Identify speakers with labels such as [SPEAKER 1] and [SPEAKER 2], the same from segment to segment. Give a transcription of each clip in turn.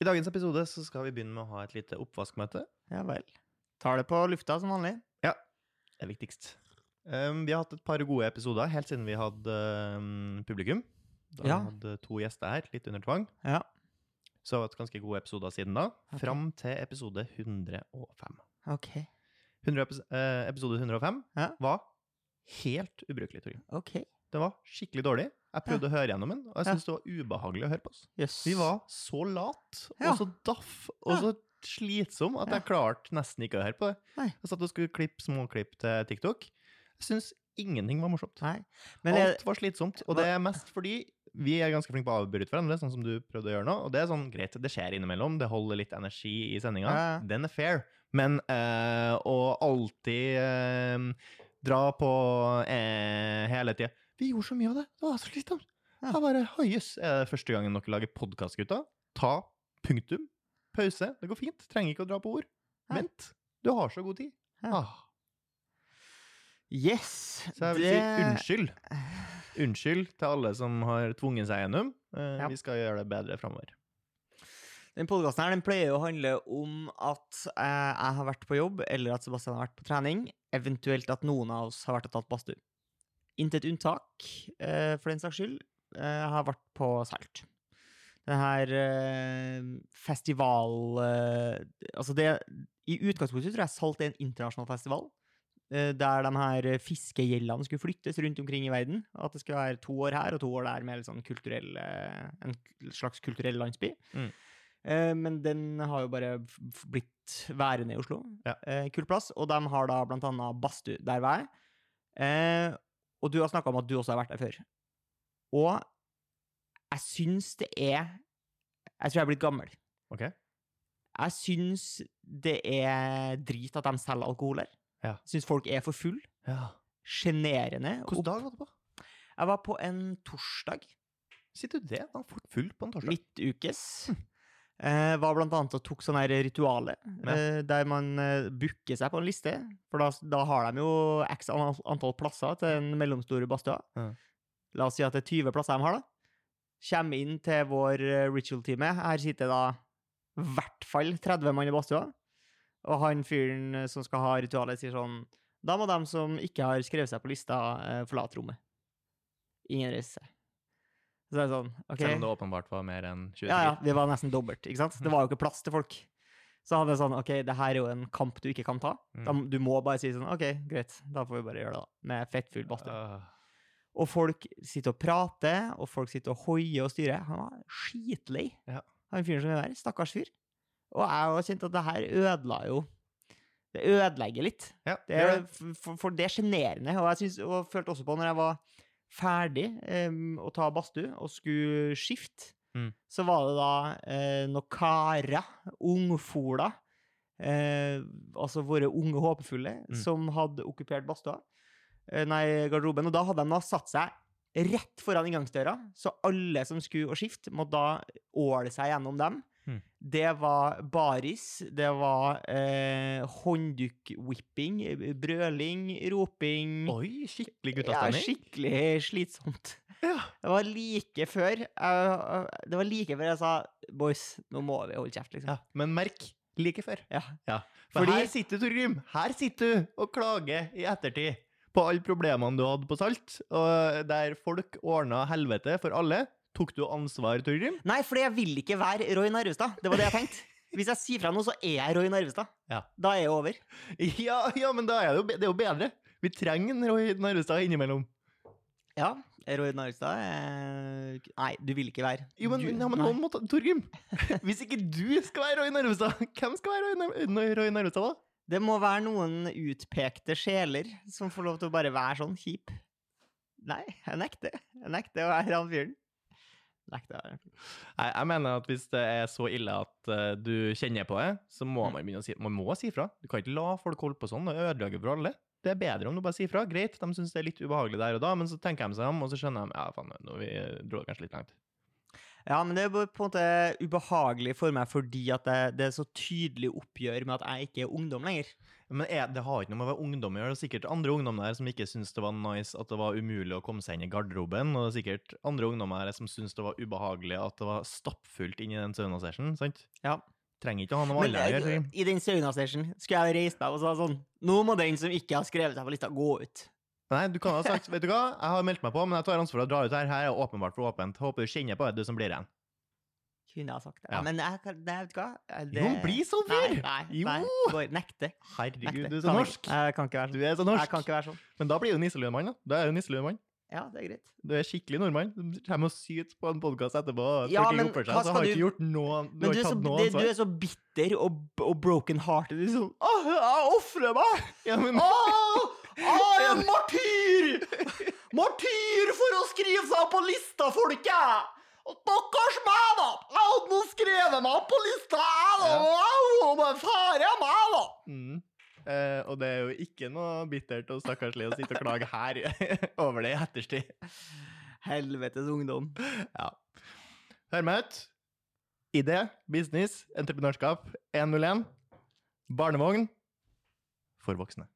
[SPEAKER 1] I dagens episode så skal vi begynne med å ha et lite oppvaskmøte.
[SPEAKER 2] Ja vel. Tar det på lufta som vanlig.
[SPEAKER 1] Det er viktigst. Um, vi har hatt et par gode episoder helt siden vi hadde um, publikum. Da
[SPEAKER 2] Ja.
[SPEAKER 1] vi hadde to gjester her, litt under tvang.
[SPEAKER 2] Ja.
[SPEAKER 1] Så det har vært ganske gode episoder siden da.
[SPEAKER 2] Ok.
[SPEAKER 1] Fram til episode 105.
[SPEAKER 2] Ok.
[SPEAKER 1] 100 epis eh, episode 105
[SPEAKER 2] Ja.
[SPEAKER 1] var helt ubrukelig, Torgrim.
[SPEAKER 2] Ok.
[SPEAKER 1] Den var skikkelig dårlig. Jeg prøvde å høre gjennom den, og jeg syntes det var ubehagelig å høre på oss.
[SPEAKER 2] Jøss.
[SPEAKER 1] Vi var så lat,
[SPEAKER 2] Ja.
[SPEAKER 1] og så daff, og så slitsom at jeg klarte nesten ikke å høre på det.
[SPEAKER 2] Nei.
[SPEAKER 1] Jeg satt og skulle klippe småklipp til TikTok. Jeg syns ingenting var morsomt.
[SPEAKER 2] Nei. Men det,
[SPEAKER 1] Alt var slitsomt, og det er mest fordi vi er ganske flinke på å avbryte hverandre, sånn som du prøvde å gjøre nå. Og det er sånn, greit, det skjer innimellom, det holder litt energi i sendinga.
[SPEAKER 2] Ja, ja.
[SPEAKER 1] Den er fair. Men eh, å alltid eh, dra på eh, hele tida Vi gjorde så mye av det, det var så slitsomt.
[SPEAKER 2] Ja.
[SPEAKER 1] Jeg bare Høyes. Er det første gangen dere lager podkast, gutta? Ta punktum. Pause. Det går fint. Trenger ikke å dra på ord.
[SPEAKER 2] Ja.
[SPEAKER 1] Vent. Du har så god tid.
[SPEAKER 2] Ja.
[SPEAKER 1] Ah.
[SPEAKER 2] yes.
[SPEAKER 1] Så jeg vil si unnskyld. Unnskyld til alle som har tvunget seg gjennom. Eh,
[SPEAKER 2] Ja.
[SPEAKER 1] Vi skal gjøre det bedre framover.
[SPEAKER 2] Den podkasten her den pleier å handle om at eh, jeg har vært på jobb, eller at Sebastian har vært på trening, eventuelt at noen av oss har vært og tatt badstue. Intet unntak, eh, for den saks skyld, eh, har vært på Salt. Den her eh, festival... Eh, altså det, I utgangspunktet tror jeg Salt er en internasjonal festival, eh, der de her fiskegjellene skulle flyttes rundt omkring i verden. At det skulle være to år her og to år der med litt sånn kulturell, eh, en slags kulturell landsby. Eh, Men den har jo bare f- f- blitt værende i Oslo.
[SPEAKER 1] Ja.
[SPEAKER 2] Eh, Kul plass. Og de har da blant annet badstue der hver. Eh, og du har snakka om at du også har vært der før. Og jeg syns det er Jeg tror jeg er blitt gammel.
[SPEAKER 1] Ok?
[SPEAKER 2] Jeg syns det er drit at de selger alkohol her.
[SPEAKER 1] Ja.
[SPEAKER 2] Syns folk er for full. Sjenerende.
[SPEAKER 1] Hvilken
[SPEAKER 2] Og-
[SPEAKER 1] dag var det på?
[SPEAKER 2] Jeg var på en torsdag.
[SPEAKER 1] Sitter du det? Da fort full på en torsdag.
[SPEAKER 2] Midtukes. Eh, var blant annet og tok sånn her rituale,
[SPEAKER 1] Ja.
[SPEAKER 2] eh, der man eh, booker seg på en liste. For da, da har de jo x an- antall plasser til den mellomstore badstua.
[SPEAKER 1] Ja.
[SPEAKER 2] La oss si at det er 20 plasser de har, da. Kjem inn til vår eh, ritual-time. Her sitter da i hvert fall 30 mann i badstua. Og han fyren eh, som skal ha ritualet, sier sånn Da må de som ikke har skrevet seg på lista, eh, forlate rommet. Ingen reise seg. Så det er sånn, ok
[SPEAKER 1] Selv om det åpenbart var mer enn 20
[SPEAKER 2] ja, ja,
[SPEAKER 1] stykker.
[SPEAKER 2] det var nesten dobbelt, ikke sant? Det var jo ikke plass til folk. Så hadde jeg sånn, ok, det her er jo en kamp du ikke kan ta. Da, du må bare si sånn, ok, greit, da får vi bare gjøre det da, med fettfull badstue.
[SPEAKER 1] Ah.
[SPEAKER 2] Og folk sitter og prater, og folk sitter og hoier og styrer. Han var skitlei,
[SPEAKER 1] Ja.
[SPEAKER 2] han fyren som er der, stakkars fyr. Og jeg har kjent at det her ødela jo, det ødelegger litt.
[SPEAKER 1] ja,
[SPEAKER 2] Det
[SPEAKER 1] gjør
[SPEAKER 2] er, for, for det er sjenerende. Og jeg synes, og følte også på når jeg var ferdig em, å ta badstue og skulle skifte,
[SPEAKER 1] Mm.
[SPEAKER 2] så var det da eh, noen karer, ungfola, eh, altså våre unge håpefulle,
[SPEAKER 1] Mm.
[SPEAKER 2] som hadde okkupert badstua, eh, nei, garderoben. Og da hadde de da satt seg rett foran inngangsdøra, så alle som skulle og skifte, måtte da åle seg gjennom dem.
[SPEAKER 1] Mm.
[SPEAKER 2] Det var baris, det var eh, håndduk-whipping, brøling, roping
[SPEAKER 1] Oi, skikkelig
[SPEAKER 2] ja,
[SPEAKER 1] guttastemning.
[SPEAKER 2] skikkelig slitsomt.
[SPEAKER 1] Ja.
[SPEAKER 2] Det var like før jeg, Det var like før jeg sa Boys, nå må vi holde kjeft, liksom.
[SPEAKER 1] Ja, men merk like før.
[SPEAKER 2] Ja.
[SPEAKER 1] For
[SPEAKER 2] Fordi-
[SPEAKER 1] her sitter du, Torgrim. Her sitter du og klager i ettertid på alle problemene du hadde på Salt, og der folk ordna helvete for alle. Tok du ansvar, Torgrim?
[SPEAKER 2] Nei, for jeg vil ikke være Roy Narvestad. Det var det jeg tenkte. Hvis jeg sier fra nå, så er jeg Roy Narvestad.
[SPEAKER 1] Ja.
[SPEAKER 2] Da er jeg over.
[SPEAKER 1] Ja, ja, men da er det, jo, be- det er jo bedre. Vi trenger en Roy Narvestad innimellom.
[SPEAKER 2] Ja, Roy Narvestad eh, Nei, du vil ikke være.
[SPEAKER 1] Jo, men,
[SPEAKER 2] du,
[SPEAKER 1] ja, men
[SPEAKER 2] nei.
[SPEAKER 1] noen må ta Torgrim! Hvis ikke du skal være Roy Narvestad, hvem skal være Roy, Nar- Roy Narvestad da?
[SPEAKER 2] Det må være noen utpekte sjeler som får lov til å bare være sånn kjip. Nei, jeg nekter. Jeg nekter å være han fyren. Nekter å være han fyren.
[SPEAKER 1] Nei, jeg mener at hvis det er så ille at eh, du kjenner på det, så må man begynne å si Man må si fra. Du kan ikke la folk holde på sånn og ødelegge for alle. Det er bedre om du bare sier fra. Greit, de syns eh, det er litt ubehagelig der og da, men så tenker de seg om, og så skjønner de ja, faen, nå vi dro det kanskje litt langt.
[SPEAKER 2] Ja, men det er på en måte ubehagelig for meg fordi at det, det er så tydelig oppgjør med at jeg ikke er ungdom lenger.
[SPEAKER 1] Men er, det har ikke noe med å være ungdom å gjøre. Det er sikkert andre ungdommer der som ikke syntes det var nice at det var umulig å komme seg inn i garderoben, og det er sikkert andre ungdommer her som syntes det var ubehagelig at det var stappfullt inn i den saunasession, sant?
[SPEAKER 2] Ja.
[SPEAKER 1] Trenger ikke å ha noe med
[SPEAKER 2] Men
[SPEAKER 1] alle å
[SPEAKER 2] jeg-
[SPEAKER 1] gjøre.
[SPEAKER 2] I den saunastasjonen skulle jeg reist meg og sa sånn Nå må den som ikke har skrevet seg på lista, gå ut.
[SPEAKER 1] Nei, du kan ha sagt Vet du hva, jeg har meldt meg på, men jeg tar ansvar for å dra ut her. Her er åpenbart for åpent. Håper du kjenner på det, du som blir igjen.
[SPEAKER 2] Kunne jeg sagt det.
[SPEAKER 1] Ja.
[SPEAKER 2] Men jeg, kan- nei, vet du hva? Eh, Det,
[SPEAKER 1] Jo, bli sånn
[SPEAKER 2] Nei,
[SPEAKER 1] fyr!
[SPEAKER 2] nei,
[SPEAKER 1] Jo!
[SPEAKER 2] nei. Bare nekte.
[SPEAKER 1] Herregud,
[SPEAKER 2] nekte.
[SPEAKER 1] du er så
[SPEAKER 2] Kan
[SPEAKER 1] norsk.
[SPEAKER 2] ikke- Jeg kan ikke være
[SPEAKER 1] Du
[SPEAKER 2] sånn.
[SPEAKER 1] er så
[SPEAKER 2] Jeg
[SPEAKER 1] norsk.
[SPEAKER 2] kan ikke være sånn.
[SPEAKER 1] Men da blir du nisselue-mann, da. Da er du nisselue-mann.
[SPEAKER 2] Ja, det er greit.
[SPEAKER 1] Du er skikkelig nordmann. Du kommer og syter på en podkast etterpå. og
[SPEAKER 2] Ja,
[SPEAKER 1] folk
[SPEAKER 2] men
[SPEAKER 1] roper seg, så
[SPEAKER 2] hva skal
[SPEAKER 1] har
[SPEAKER 2] du-
[SPEAKER 1] ikke gjort noe Du
[SPEAKER 2] Men
[SPEAKER 1] har
[SPEAKER 2] du er,
[SPEAKER 1] ikke
[SPEAKER 2] så,
[SPEAKER 1] tatt noe
[SPEAKER 2] det, du
[SPEAKER 1] ansvar.
[SPEAKER 2] er så bitter og, og broken hearted. Du er
[SPEAKER 1] Liksom.
[SPEAKER 2] sånn Åh, jeg ofrer meg!
[SPEAKER 1] Ja, men,
[SPEAKER 2] Åh, åh, jeg er en martyr! Martyr for å skrive seg opp på lista, folket! Og Stakkars meg, da! Jeg hadde nå skrevet meg opp på lista, jeg, da!
[SPEAKER 1] Ja.
[SPEAKER 2] og jeg må bare fære meg, da!
[SPEAKER 1] mm. Eh, og det er jo ikke noe bittert og stakkarslig å sitte og klage her over det i ettertid.
[SPEAKER 2] Helvetes ungdom.
[SPEAKER 1] Hør meg ut. ID, business, entreprenørskap, 101. Barnevogn for voksne.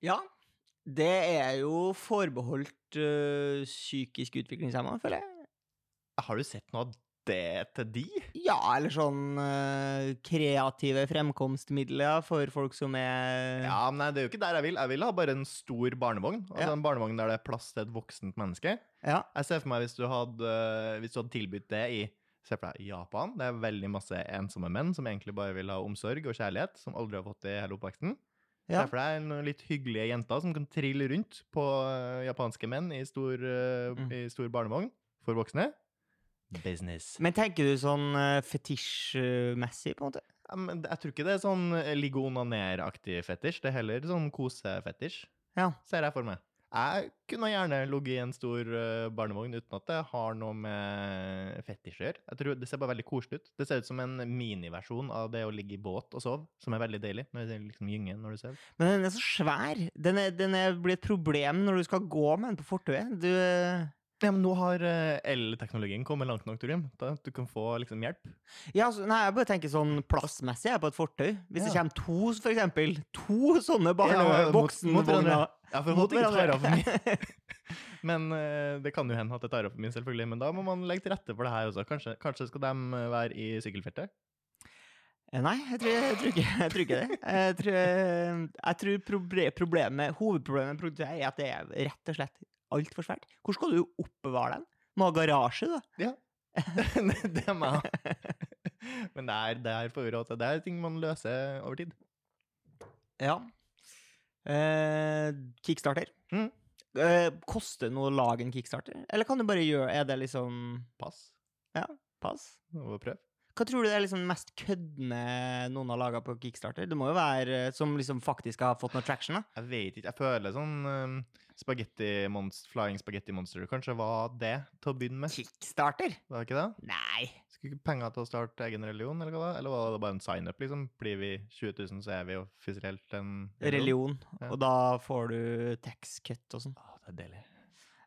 [SPEAKER 2] Ja, det er jo forbeholdt øh, psykisk utviklingshemmede, føler jeg.
[SPEAKER 1] Har du sett noe av det til de?
[SPEAKER 2] Ja, eller sånn øh, kreative fremkomstmidler for folk som er
[SPEAKER 1] Ja, men nei, det er jo ikke der jeg vil. Jeg vil ha bare en stor barnevogn. Altså
[SPEAKER 2] Ja.
[SPEAKER 1] En barnevogn der det er plass til et voksent menneske.
[SPEAKER 2] Ja.
[SPEAKER 1] Jeg ser for meg hvis du hadde, eh, hvis du hadde tilbudt det i Se for deg Japan. Det er veldig masse ensomme menn som egentlig bare vil ha omsorg og kjærlighet, som aldri har fått det i hele oppveksten.
[SPEAKER 2] Ja.
[SPEAKER 1] Se for deg noen litt hyggelige jenter som kan trille rundt på eh, japanske menn i stor, eh,
[SPEAKER 2] Mm.
[SPEAKER 1] i stor barnevogn for voksne. Business.
[SPEAKER 2] Men tenker du sånn øh, fetisjmessig, på en måte?
[SPEAKER 1] Ja, men Jeg tror ikke det er sånn eh, ligge og onaner-aktig fetisj. Det er heller sånn kosefetisj,
[SPEAKER 2] Ja.
[SPEAKER 1] ser jeg for meg. Jeg kunne gjerne ligget i en stor eh, barnevogn uten at det har noe med fetisj å gjøre. Jeg tror Det ser bare veldig koselig ut. Det ser ut som en miniversjon av det å ligge i båt og sove, som er veldig deilig. Når det liksom gynger når du sover.
[SPEAKER 2] Men den er så svær. Den, er, den er, blir et problem når du skal gå med den på fortauet. Du eh,
[SPEAKER 1] Ja, men nå har eh, elteknologien kommet langt nok, Torgrim. Da Du kan få liksom hjelp.
[SPEAKER 2] ja, altså, nei, jeg bare tenker sånn plassmessig jeg, på et fortau. Hvis det
[SPEAKER 1] Ja.
[SPEAKER 2] kommer to, for eksempel. To sånne barne-
[SPEAKER 1] Ja, mot- mot
[SPEAKER 2] voksenvogner.
[SPEAKER 1] hverandre. Ja, for
[SPEAKER 2] Mot
[SPEAKER 1] håper ikke tar av for mye.
[SPEAKER 2] hverandre.
[SPEAKER 1] Men eh, det kan jo hende at det tar opp min, selvfølgelig. Men da må man legge til rette for det her også. Kanskje, kanskje skal de eh, være i sykkelfeltet?
[SPEAKER 2] Eh, Nei, jeg tror, jeg, tror ikke, jeg tror ikke det. Jeg tror, eh, jeg tror proble- problemet, hovedproblemet med produktet er at det er rett og slett altfor svært. Hvor skal du oppbevare den? Må ha garasje, da.
[SPEAKER 1] det er meg. Men det er, det er for råd. Det er ting man løser over tid.
[SPEAKER 2] Ja. Eh, kickstarter.
[SPEAKER 1] Mm.
[SPEAKER 2] Eh, koster det noe å lage en kickstarter? Eller kan du bare gjøre Er det liksom
[SPEAKER 1] Pass
[SPEAKER 2] pass?
[SPEAKER 1] og prøv.
[SPEAKER 2] Hva tror du er liksom den mest køddende noen har laga på kickstarter? Det må jo være eh, som liksom faktisk har fått noe traction, da.
[SPEAKER 1] Jeg vet ikke. Jeg føler sånn um, spaghetti monst- Flying Spaghetti Monster kanskje var det til å begynne med.
[SPEAKER 2] Kickstarter?
[SPEAKER 1] Var det ikke det?
[SPEAKER 2] Nei.
[SPEAKER 1] Skulle ikke penger til å starte egen religion, eller hva da? Eller var det bare en sign-up, liksom? Blir vi 20 000, så er vi offisielt en
[SPEAKER 2] Religion.
[SPEAKER 1] Ja.
[SPEAKER 2] Og da får du tax cut og sånn.
[SPEAKER 1] Å, det er deilig.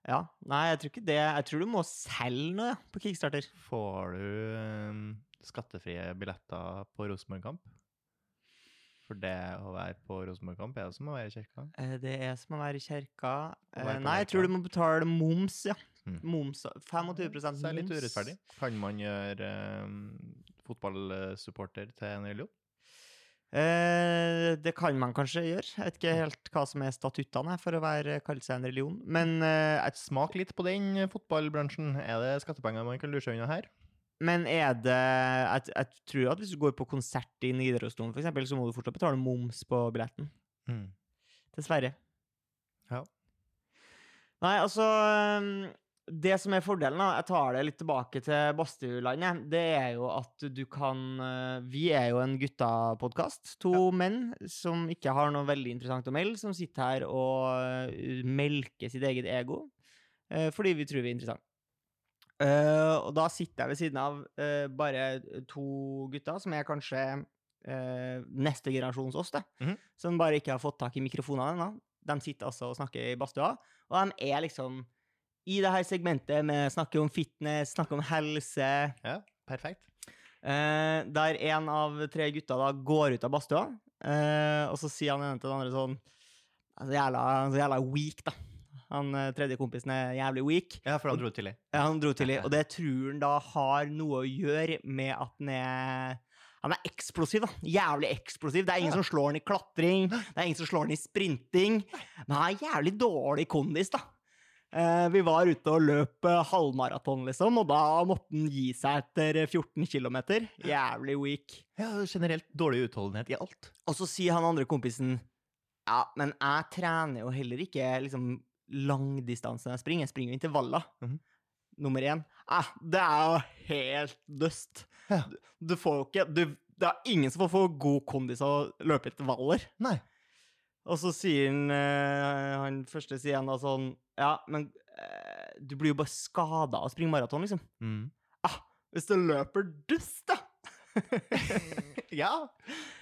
[SPEAKER 2] Ja. Nei, jeg tror ikke det. Jeg tror du må selge noe ja, på kickstarter.
[SPEAKER 1] Får du ehm, skattefrie billetter på Rosenborg-kamp? For det å være på Rosenborg-kamp er det som å være i kirka.
[SPEAKER 2] Eh, Det er som å være i kjerka.
[SPEAKER 1] Å
[SPEAKER 2] Eh,
[SPEAKER 1] være på
[SPEAKER 2] Nei, jeg tror du må betale moms, ja.
[SPEAKER 1] Mm.
[SPEAKER 2] Moms, 25 moms.
[SPEAKER 1] Så det er litt urettferdig. Kan man gjøre ehm, fotballsupporter til en religion?
[SPEAKER 2] Eh, det kan man kanskje gjøre. Jeg vet ikke helt hva som er statuttene for å være, kalle seg en religion.
[SPEAKER 1] Hm.
[SPEAKER 2] Men, eh, jeg-
[SPEAKER 1] Smak litt på den eh, fotballbransjen. Er det skattepenger man kan lure seg unna her?
[SPEAKER 2] men er det jeg, jeg tror at hvis du går på konsert i Nidarosdomen, f.eks., så må du fortsatt betale moms på billetten. Dessverre.
[SPEAKER 1] Ja.
[SPEAKER 2] Nei, altså eh, Det som er fordelen, da, jeg tar det litt tilbake til Badstuelandet, det er jo at du kan eh, Vi er jo en guttapodkast. To menn som ikke har noe veldig interessant å melde, som sitter her og eh, melker sitt eget ego eh, fordi vi tror vi er interessante. Eh, og da sitter jeg ved siden av eh, bare to gutter som er kanskje eh, neste generasjons oss, det som bare ikke har fått tak i mikrofonene ennå. De sitter altså og snakker i badstua, og de er liksom i det her segmentet vi snakker om fitness, snakker om helse,
[SPEAKER 1] Perfekt.
[SPEAKER 2] eh, der en av tre gutter da går ut av badstua, eh, og så sier han ene til den andre sånn «Han er Så jævla, han er så jævla weak, da. Han eh, tredje kompisen er jævlig weak.
[SPEAKER 1] Ja, for han dro tidlig.
[SPEAKER 2] Ja, han dro tidlig, og det tror han da har noe å gjøre med at han er han er eksplosiv, da. Jævlig eksplosiv. Det er ingen
[SPEAKER 1] Ja.
[SPEAKER 2] som slår han i klatring, det er ingen som slår han i sprinting. Men han er jævlig dårlig i kondis, da. Eh, vi var ute og løp eh, halvmaraton, liksom, og da måtte han gi seg etter eh, 14 km. Jævlig weak.
[SPEAKER 1] Ja, generelt dårlig utholdenhet i alt.
[SPEAKER 2] Og så sier han andre kompisen Ja, men jeg trener jo heller ikke liksom langdistanse når jeg springer. Jeg springer jo intervaller.
[SPEAKER 1] Mhm.
[SPEAKER 2] Nummer én ah, Det er jo helt dust.
[SPEAKER 1] Ja.
[SPEAKER 2] Du, du får jo ikke du, Det er ingen som får få god kondis av å løpe intervaller.
[SPEAKER 1] Nei.
[SPEAKER 2] Og så sier han, eh, han første sier han da sånn Ja, men eh, du blir jo bare skada av å springe maraton, liksom.
[SPEAKER 1] Mm.
[SPEAKER 2] Hvis du løper dust, da.
[SPEAKER 1] Ja.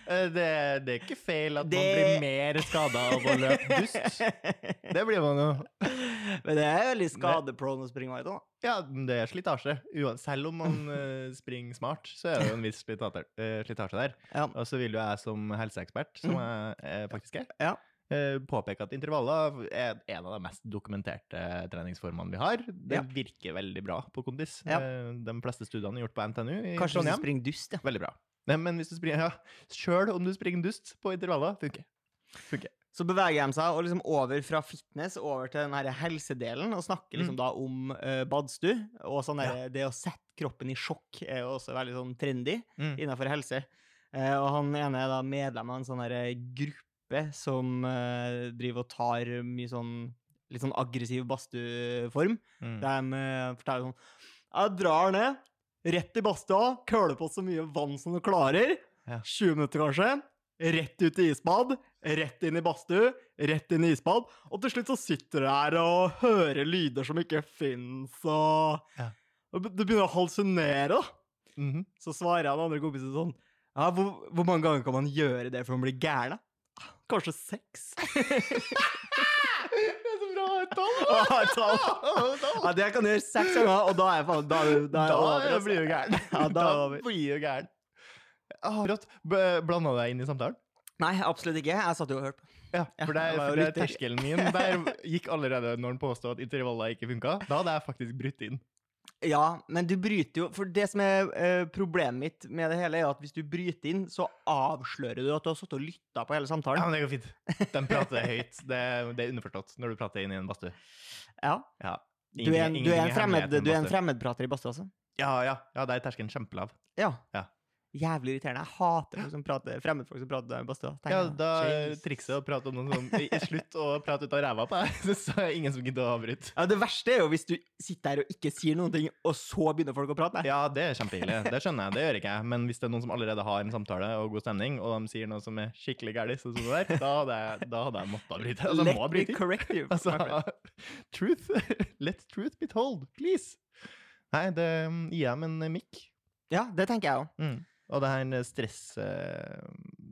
[SPEAKER 1] eh, Det, det er ikke feil at man
[SPEAKER 2] Det-
[SPEAKER 1] blir mer skada av å løpe dust. Det blir man jo.
[SPEAKER 2] Men det er veldig skadeprone å springe maraton. da.
[SPEAKER 1] Ja, men det er slitasje. Ua- Selv om man eh, springer smart, så er det jo en viss slitater- eh, slitasje der.
[SPEAKER 2] Ja. Mm.
[SPEAKER 1] Og så vil jo jeg som helseekspert, som jeg eh, faktisk er,
[SPEAKER 2] Ja.
[SPEAKER 1] eh, påpeke at intervaller er en av de mest dokumenterte treningsformene vi har. Det
[SPEAKER 2] Ja.
[SPEAKER 1] virker veldig bra på kondis.
[SPEAKER 2] Ja.
[SPEAKER 1] Eh, De fleste studiene er gjort på NTNU i
[SPEAKER 2] Kanskje hvis du
[SPEAKER 1] Trondheim.
[SPEAKER 2] springer dust, ja.
[SPEAKER 1] Veldig bra. Nei, men hvis du springer, ja, sjøl om du springer dust på intervaller, funker.
[SPEAKER 2] Så beveger de seg og liksom over fra fitness over til den her helsedelen, og snakker
[SPEAKER 1] Mm.
[SPEAKER 2] liksom da om uh, badstue. Og sånn der, det å sette kroppen i sjokk er jo også veldig sånn trendy
[SPEAKER 1] Mm.
[SPEAKER 2] innenfor helse. Eh, og han ene er da medlem av en sånn her gruppe som eh, driver og tar mye sånn litt sånn aggressiv badstueform.
[SPEAKER 1] Mm.
[SPEAKER 2] Der de eh, forteller sånn Jeg drar ned, rett i badstua, køler på så mye vann som du klarer.
[SPEAKER 1] Ja.
[SPEAKER 2] 20 minutter, kanskje. Rett ut i isbad, rett inn i badstue, rett inn i isbad. Og til slutt så sitter du her og hører lyder som ikke fins, og
[SPEAKER 1] Ja.
[SPEAKER 2] og Du begynner å hallusinere, da.
[SPEAKER 1] Mhm.
[SPEAKER 2] Så svarer han andre kompisen sånn Ja, hvor, hvor mange ganger kan man gjøre det før man blir gæren, da? "Ah, Kanskje seks?
[SPEAKER 1] Det er så bra tall!
[SPEAKER 2] Og han sa,
[SPEAKER 1] da
[SPEAKER 2] Ja, det kan du gjøre seks ganger, og da er jeg faen Da, er du- da, er jeg over,
[SPEAKER 1] da
[SPEAKER 2] altså.
[SPEAKER 1] blir du gæren.
[SPEAKER 2] Ja, da er det over.
[SPEAKER 1] blir du gæren. Ah, rått. B- Blanda deg inn i samtalen?
[SPEAKER 2] Nei, absolutt ikke. Jeg satt jo og hørte på.
[SPEAKER 1] Ja, for det,
[SPEAKER 2] jeg var
[SPEAKER 1] for
[SPEAKER 2] jo
[SPEAKER 1] det
[SPEAKER 2] lytter.
[SPEAKER 1] terskelen min der gikk allerede når han påstod at intervaller ikke funka. Da hadde jeg faktisk brutt inn.
[SPEAKER 2] Ja, men du bryter jo For det som er eh, problemet mitt med det hele, er jo at hvis du bryter inn, så avslører du at du har sittet og lytta på hele
[SPEAKER 1] Ja,
[SPEAKER 2] samtalen.
[SPEAKER 1] men det går fint. De prater høyt. Det, det er underforstått når du prater inn i en badstue.
[SPEAKER 2] Ja.
[SPEAKER 1] Ja.
[SPEAKER 2] Du er en,
[SPEAKER 1] Ingenting-
[SPEAKER 2] du er en,
[SPEAKER 1] ingenting
[SPEAKER 2] fremmed,
[SPEAKER 1] hemmelighet i en
[SPEAKER 2] du er en
[SPEAKER 1] badstue.
[SPEAKER 2] fremmedprater i badstua, altså?
[SPEAKER 1] Ja, ja, ja, der er terskelen kjempelav.
[SPEAKER 2] Ja.
[SPEAKER 1] Ja.
[SPEAKER 2] Jævlig irriterende. Jeg hater folk som prater, fremmedfolk som prater i badstua. Tenker
[SPEAKER 1] Ja,
[SPEAKER 2] jeg,
[SPEAKER 1] da er
[SPEAKER 2] Jesus.
[SPEAKER 1] trikset å prate om noe som i i slutt å prate ut av ræva på deg, så er det ingen som gidder å avbryte.
[SPEAKER 2] Ja, Det verste er jo hvis du sitter her og ikke sier noen ting, og så begynner folk å prate.
[SPEAKER 1] Ja, det er kjempehyggelig. Det skjønner jeg. Det gjør ikke jeg. Men hvis det er noen som allerede har en samtale og god stemning, og de sier noe som er skikkelig gærent, sånn som det der, da hadde jeg, da hadde jeg måttet avbryte. Altså, jeg må
[SPEAKER 2] Let me
[SPEAKER 1] avbryte.
[SPEAKER 2] correct you.
[SPEAKER 1] Altså, truth. Let truth be told, please. Nei, det mm, gir dem en mikk.
[SPEAKER 2] Ja, det tenker jeg òg.
[SPEAKER 1] Og det her stress, eh,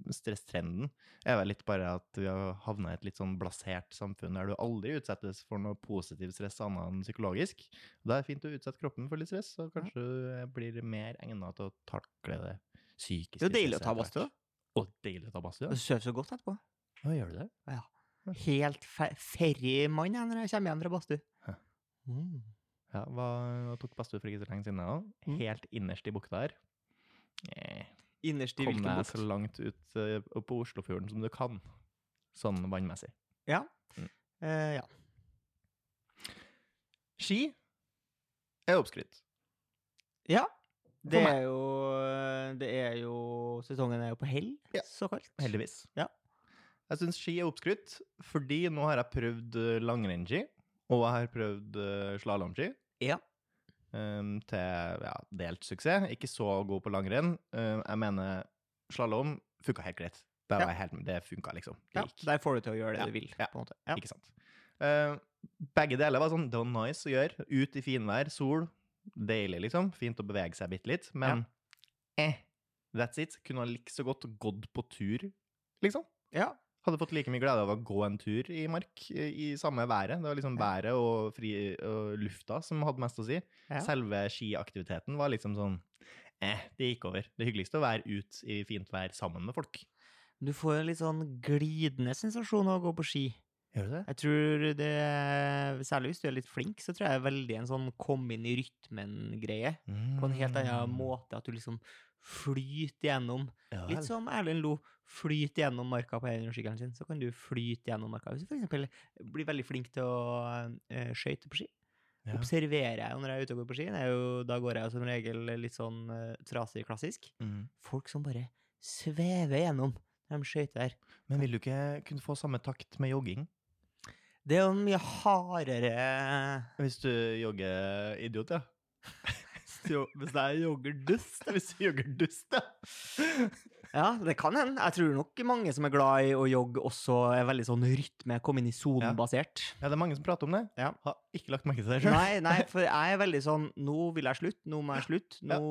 [SPEAKER 1] stresstrenden er vel litt bare at vi har havna i et litt sånn blasert samfunn der du aldri utsettes for noe positivt stress annet enn psykologisk. Da er det fint å utsette kroppen for litt stress, så kanskje du eh, blir mer egna til å takle det psykiske.
[SPEAKER 2] Det er jo deilig å
[SPEAKER 1] stresset
[SPEAKER 2] ta
[SPEAKER 1] etter hvert.
[SPEAKER 2] badstue.
[SPEAKER 1] Og deilig å ta badstue.
[SPEAKER 2] Du sover så godt etterpå.
[SPEAKER 1] Ja, gjør du det?
[SPEAKER 2] Helt fe ferry mann jeg når jeg kommer hjem fra badstue.
[SPEAKER 1] Hæ.
[SPEAKER 2] Mm.
[SPEAKER 1] Ja, hva, jeg tok badstue for ikke så lenge siden, jeg òg.
[SPEAKER 2] Mm.
[SPEAKER 1] Helt innerst i bukta her. Eh,
[SPEAKER 2] Innerst i
[SPEAKER 1] Kom
[SPEAKER 2] hvilken
[SPEAKER 1] deg
[SPEAKER 2] bukt?
[SPEAKER 1] så langt ut eh, opp på Oslofjorden som du kan, sånn vannmessig.
[SPEAKER 2] Eh, ja.
[SPEAKER 1] Ski er oppskrytt.
[SPEAKER 2] Det
[SPEAKER 1] meg.
[SPEAKER 2] er jo eh, Det er jo Sesongen er jo på hell,
[SPEAKER 1] Ja.
[SPEAKER 2] såkalt.
[SPEAKER 1] Heldigvis.
[SPEAKER 2] Ja.
[SPEAKER 1] Jeg syns ski er oppskrytt, fordi nå har jeg prøvd eh, langrennsski, og jeg har prøvd eh, slalåmski. ehm,
[SPEAKER 2] Ja.
[SPEAKER 1] til ja, delt suksess. Ikke så god på langrenn. Eh, jeg mener slalåm funka helt greit. Der
[SPEAKER 2] Ja.
[SPEAKER 1] var jeg helt, det funka, liksom. Det
[SPEAKER 2] Ja,
[SPEAKER 1] gikk.
[SPEAKER 2] der får du til å gjøre det
[SPEAKER 1] Ja,
[SPEAKER 2] du vil.
[SPEAKER 1] ja,
[SPEAKER 2] på en måte. Ja.
[SPEAKER 1] Ikke sant? Eh, begge deler var sånn, det var nice å gjøre. Ut i finvær, sol. Deilig, liksom. Fint å bevege seg bitte litt. Men eh, that's it. Kunne ha like så godt gått på tur, liksom.
[SPEAKER 2] Ja.
[SPEAKER 1] Hadde fått like mye glede av å gå en tur i mark eh, i samme været. Det var liksom været og, fri, og lufta som hadde mest å si.
[SPEAKER 2] Ja.
[SPEAKER 1] Selve skiaktiviteten var liksom sånn Eh, det gikk over. Det hyggeligste å være ute i fint vær sammen med folk.
[SPEAKER 2] Du får en litt sånn glidende sensasjon av å gå på ski.
[SPEAKER 1] Gjør du det?
[SPEAKER 2] Jeg tror det, Særlig hvis du er litt flink, så tror jeg det er veldig en sånn kom inn i rytmen-greie. På en helt annen
[SPEAKER 1] Mm.
[SPEAKER 2] måte, at du liksom flyter gjennom. Litt som Erlend lo, flyter gjennom marka på energiskykkeren sin. Så kan du flyte gjennom marka. Hvis du f.eks. blir veldig flink til å eh, skøyte på ski,
[SPEAKER 1] Ja.
[SPEAKER 2] observerer jeg jo når jeg er ute og går på ski, det er jo, da går jeg jo som regel litt sånn eh, trasig klassisk.
[SPEAKER 1] Mm.
[SPEAKER 2] Folk som bare svever gjennom når de skøyter der.
[SPEAKER 1] Men vil du ikke kunne få samme takt med jogging?
[SPEAKER 2] Det er jo mye hardere
[SPEAKER 1] Hvis du jogger idiot, ja.
[SPEAKER 2] Hvis jeg jogger dust.
[SPEAKER 1] Hvis du jogger dust, ja.
[SPEAKER 2] Ja, det kan hende. Jeg tror nok mange som er glad i å jogge, også er veldig sånn rytme, komme inn i sonen-basert.
[SPEAKER 1] Ja, det er mange som prater om det.
[SPEAKER 2] Ja.
[SPEAKER 1] Har ikke lagt merke til det sjøl.
[SPEAKER 2] Nei, nei, for jeg er veldig sånn Nå vil jeg slutte, nå må jeg slutte. Nå,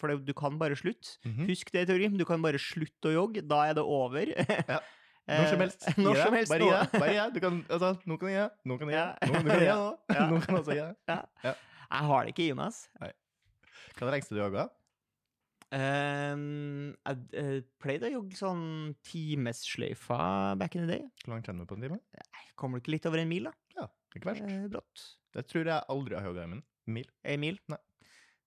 [SPEAKER 2] for det, du kan bare slutte.
[SPEAKER 1] Mm. Mhm.
[SPEAKER 2] Husk det, Torgrim. Du kan bare slutte å jogge. Da er det over.
[SPEAKER 1] Når som helst.
[SPEAKER 2] Eh,
[SPEAKER 1] Gi
[SPEAKER 2] Når
[SPEAKER 1] deg.
[SPEAKER 2] som helst
[SPEAKER 1] Bare gi
[SPEAKER 2] nå.
[SPEAKER 1] deg. Bare gi deg. Du kan, altså, nå kan du gi deg. Nå kan du gi
[SPEAKER 2] Ja.
[SPEAKER 1] deg. Nå kan du gi deg. nå.
[SPEAKER 2] Ja. Ja.
[SPEAKER 1] Nå kan du også gi deg.
[SPEAKER 2] Jeg har det ikke i meg, ass.
[SPEAKER 1] Hva er det lengste du jogga?
[SPEAKER 2] Ehm, jeg eh, pleide å jogge sånn timesløyfa back in the day.
[SPEAKER 1] Hvor langt kjenner du på en time?
[SPEAKER 2] Kommer du ikke litt over en mil, da?
[SPEAKER 1] Ja, det er ikke verst.
[SPEAKER 2] Eh, brått.
[SPEAKER 1] Det tror jeg aldri har jogga i min mil.
[SPEAKER 2] Ei mil?
[SPEAKER 1] Nei.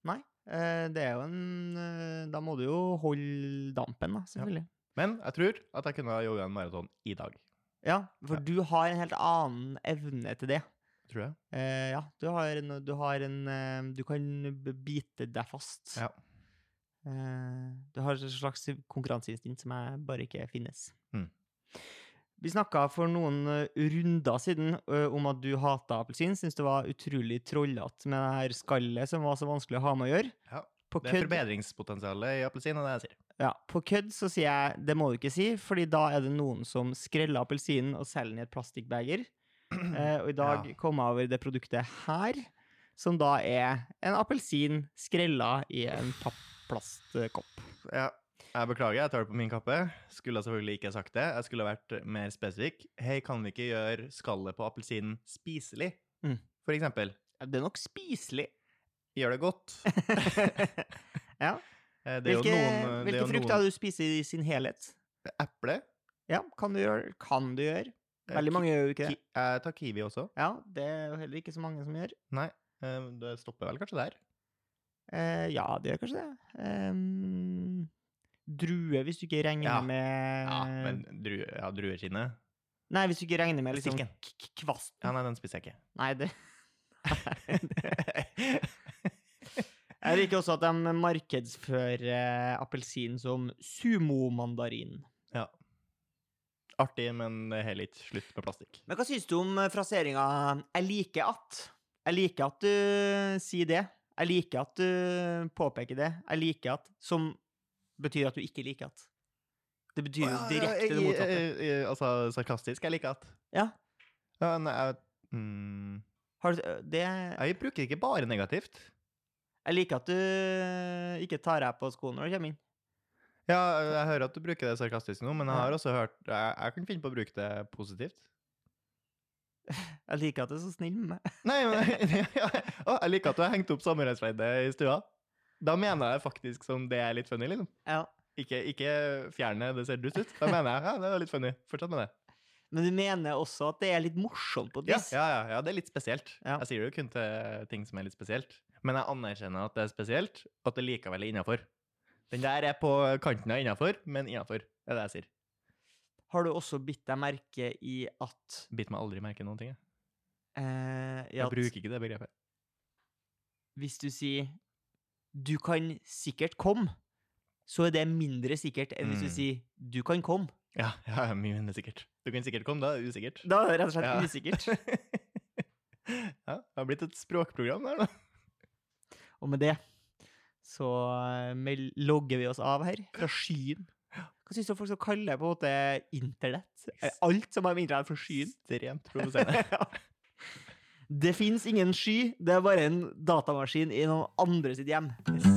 [SPEAKER 2] Nei. eh, Det er jo en eh, Da må du jo holde dampen, da, selvfølgelig.
[SPEAKER 1] Men jeg tror at jeg kunne ha jogga en maraton i dag.
[SPEAKER 2] Ja, for
[SPEAKER 1] Ja.
[SPEAKER 2] du har en helt annen evne til det.
[SPEAKER 1] Tror jeg.
[SPEAKER 2] Eh, ja, du har en, du, har en eh, du kan b- bite deg fast.
[SPEAKER 1] Ja.
[SPEAKER 2] Eh, du har et slags konkurranseinstinkt som jeg bare ikke finnes.
[SPEAKER 1] Mm.
[SPEAKER 2] Vi snakka for noen eh, runder siden eh, om at du hata appelsin. Syns det var utrolig trollete med det her skallet som var så vanskelig å ha med å gjøre.
[SPEAKER 1] Ja,
[SPEAKER 2] På
[SPEAKER 1] Det er
[SPEAKER 2] kødd-
[SPEAKER 1] forbedringspotensialet i appelsin, og det er det jeg sier.
[SPEAKER 2] Ja, på kødd så sier jeg det må du ikke si, fordi da er det noen som skreller appelsinen og selger den i et plastikkbeger. Eh, og i dag
[SPEAKER 1] Ja.
[SPEAKER 2] kom jeg over det produktet her, som da er en appelsin skrella i en pappplastkopp.
[SPEAKER 1] Ja. Jeg beklager, jeg tar det på min kappe. Skulle jeg selvfølgelig ikke sagt det. Jeg skulle vært mer spesifikk. Hei, kan vi ikke gjøre skallet på appelsinen spiselig?
[SPEAKER 2] Mm.
[SPEAKER 1] For eksempel.
[SPEAKER 2] Ja, det er nok spiselig.
[SPEAKER 1] Gjør det godt.
[SPEAKER 2] Ja.
[SPEAKER 1] Eh, Det er
[SPEAKER 2] Hvilke,
[SPEAKER 1] jo noen, det er
[SPEAKER 2] hvilke
[SPEAKER 1] jo
[SPEAKER 2] frukter har du spist i sin helhet?
[SPEAKER 1] noen Eple.
[SPEAKER 2] Ja, kan du gjøre? Kan du gjøre?
[SPEAKER 1] Eh,
[SPEAKER 2] Veldig mange gjør jo ikke det.
[SPEAKER 1] Ki jeg tar kiwi også.
[SPEAKER 2] Ja, det er jo heller ikke så mange som gjør.
[SPEAKER 1] Eh, Det stopper vel kanskje der.
[SPEAKER 2] Eh, ja, det gjør kanskje det. Ehm, drue, hvis du ikke regner
[SPEAKER 1] Ja.
[SPEAKER 2] med
[SPEAKER 1] Ja, men drue, ja, drueskinnet
[SPEAKER 2] Nei, hvis du ikke regner med liksom,
[SPEAKER 1] Stilken.
[SPEAKER 2] k- k- kvasten.
[SPEAKER 1] Ja, nei, den spiser jeg ikke.
[SPEAKER 2] Nei, det Jeg liker også at de markedsfører eh, appelsin som sumomandarin.
[SPEAKER 1] Artig, men det er helt litt slutt med plastikk.
[SPEAKER 2] Men hva syns du om eh, fraseringa 'jeg liker at'? Jeg liker at du eh, sier det. Jeg liker at du påpeker det. Jeg liker at Som betyr at du ikke liker at. Det betyr jo direkte det motsatte.
[SPEAKER 1] Altså sarkastisk. Jeg liker at
[SPEAKER 2] Ja.
[SPEAKER 1] Ja, nei, jeg, mm,
[SPEAKER 2] Har du, eh, det, jeg
[SPEAKER 1] jeg bruker ikke bare negativt.
[SPEAKER 2] liker at du ikke tar deg på skoene når du kommer inn.
[SPEAKER 1] Ja, eh, jeg hører at du bruker det sarkastisk nå, men jeg
[SPEAKER 2] Ja.
[SPEAKER 1] har også hørt Jeg, jeg kan finne på å bruke det positivt.
[SPEAKER 2] Jeg liker at du er så snill med meg.
[SPEAKER 1] Nei, men ja, å, Jeg liker at du har hengt opp samarbeidsveide i stua. Da mener jeg faktisk som det er litt funny, liksom.
[SPEAKER 2] Ja.
[SPEAKER 1] Ikke, ikke fjerne det ser dust ut. Da mener jeg ja, det var litt funny. Fortsett med det.
[SPEAKER 2] Men du mener også at det er litt morsomt på et
[SPEAKER 1] Ja,
[SPEAKER 2] vis?
[SPEAKER 1] ja, ja, ja det er litt spesielt.
[SPEAKER 2] Ja.
[SPEAKER 1] Jeg sier det jo kun til ting som er litt spesielt. Men jeg anerkjenner at det er spesielt, og at det likevel er innafor. Den der er på kanten av innafor, men innafor. Det er det jeg sier.
[SPEAKER 2] Har du også bitt deg merke i at,
[SPEAKER 1] Bit meg aldri merke noen ting. jeg.
[SPEAKER 2] eh, i
[SPEAKER 1] Jeg
[SPEAKER 2] at
[SPEAKER 1] bruker ikke det begrepet.
[SPEAKER 2] Hvis du sier 'du kan sikkert komme', så er det mindre sikkert enn hvis du
[SPEAKER 1] Mm.
[SPEAKER 2] sier 'du kan komme'.
[SPEAKER 1] Ja, ja mye mindre sikkert. Du kan sikkert komme, da. er det Usikkert.
[SPEAKER 2] Da er det rett og slett
[SPEAKER 1] Ja.
[SPEAKER 2] usikkert.
[SPEAKER 1] ja, det har blitt et språkprogram der, da.
[SPEAKER 2] Og med det så eh, mel- logger vi oss av her, fra skyen. Hva syns du folk skal kalle det på en måte internett? Eh, Alt som har med internett, for skyen?
[SPEAKER 1] Ekstremt provoserende.
[SPEAKER 2] Ja. Det fins ingen sky, det er bare en datamaskin i noen andre sitt hjem.
[SPEAKER 1] Yes.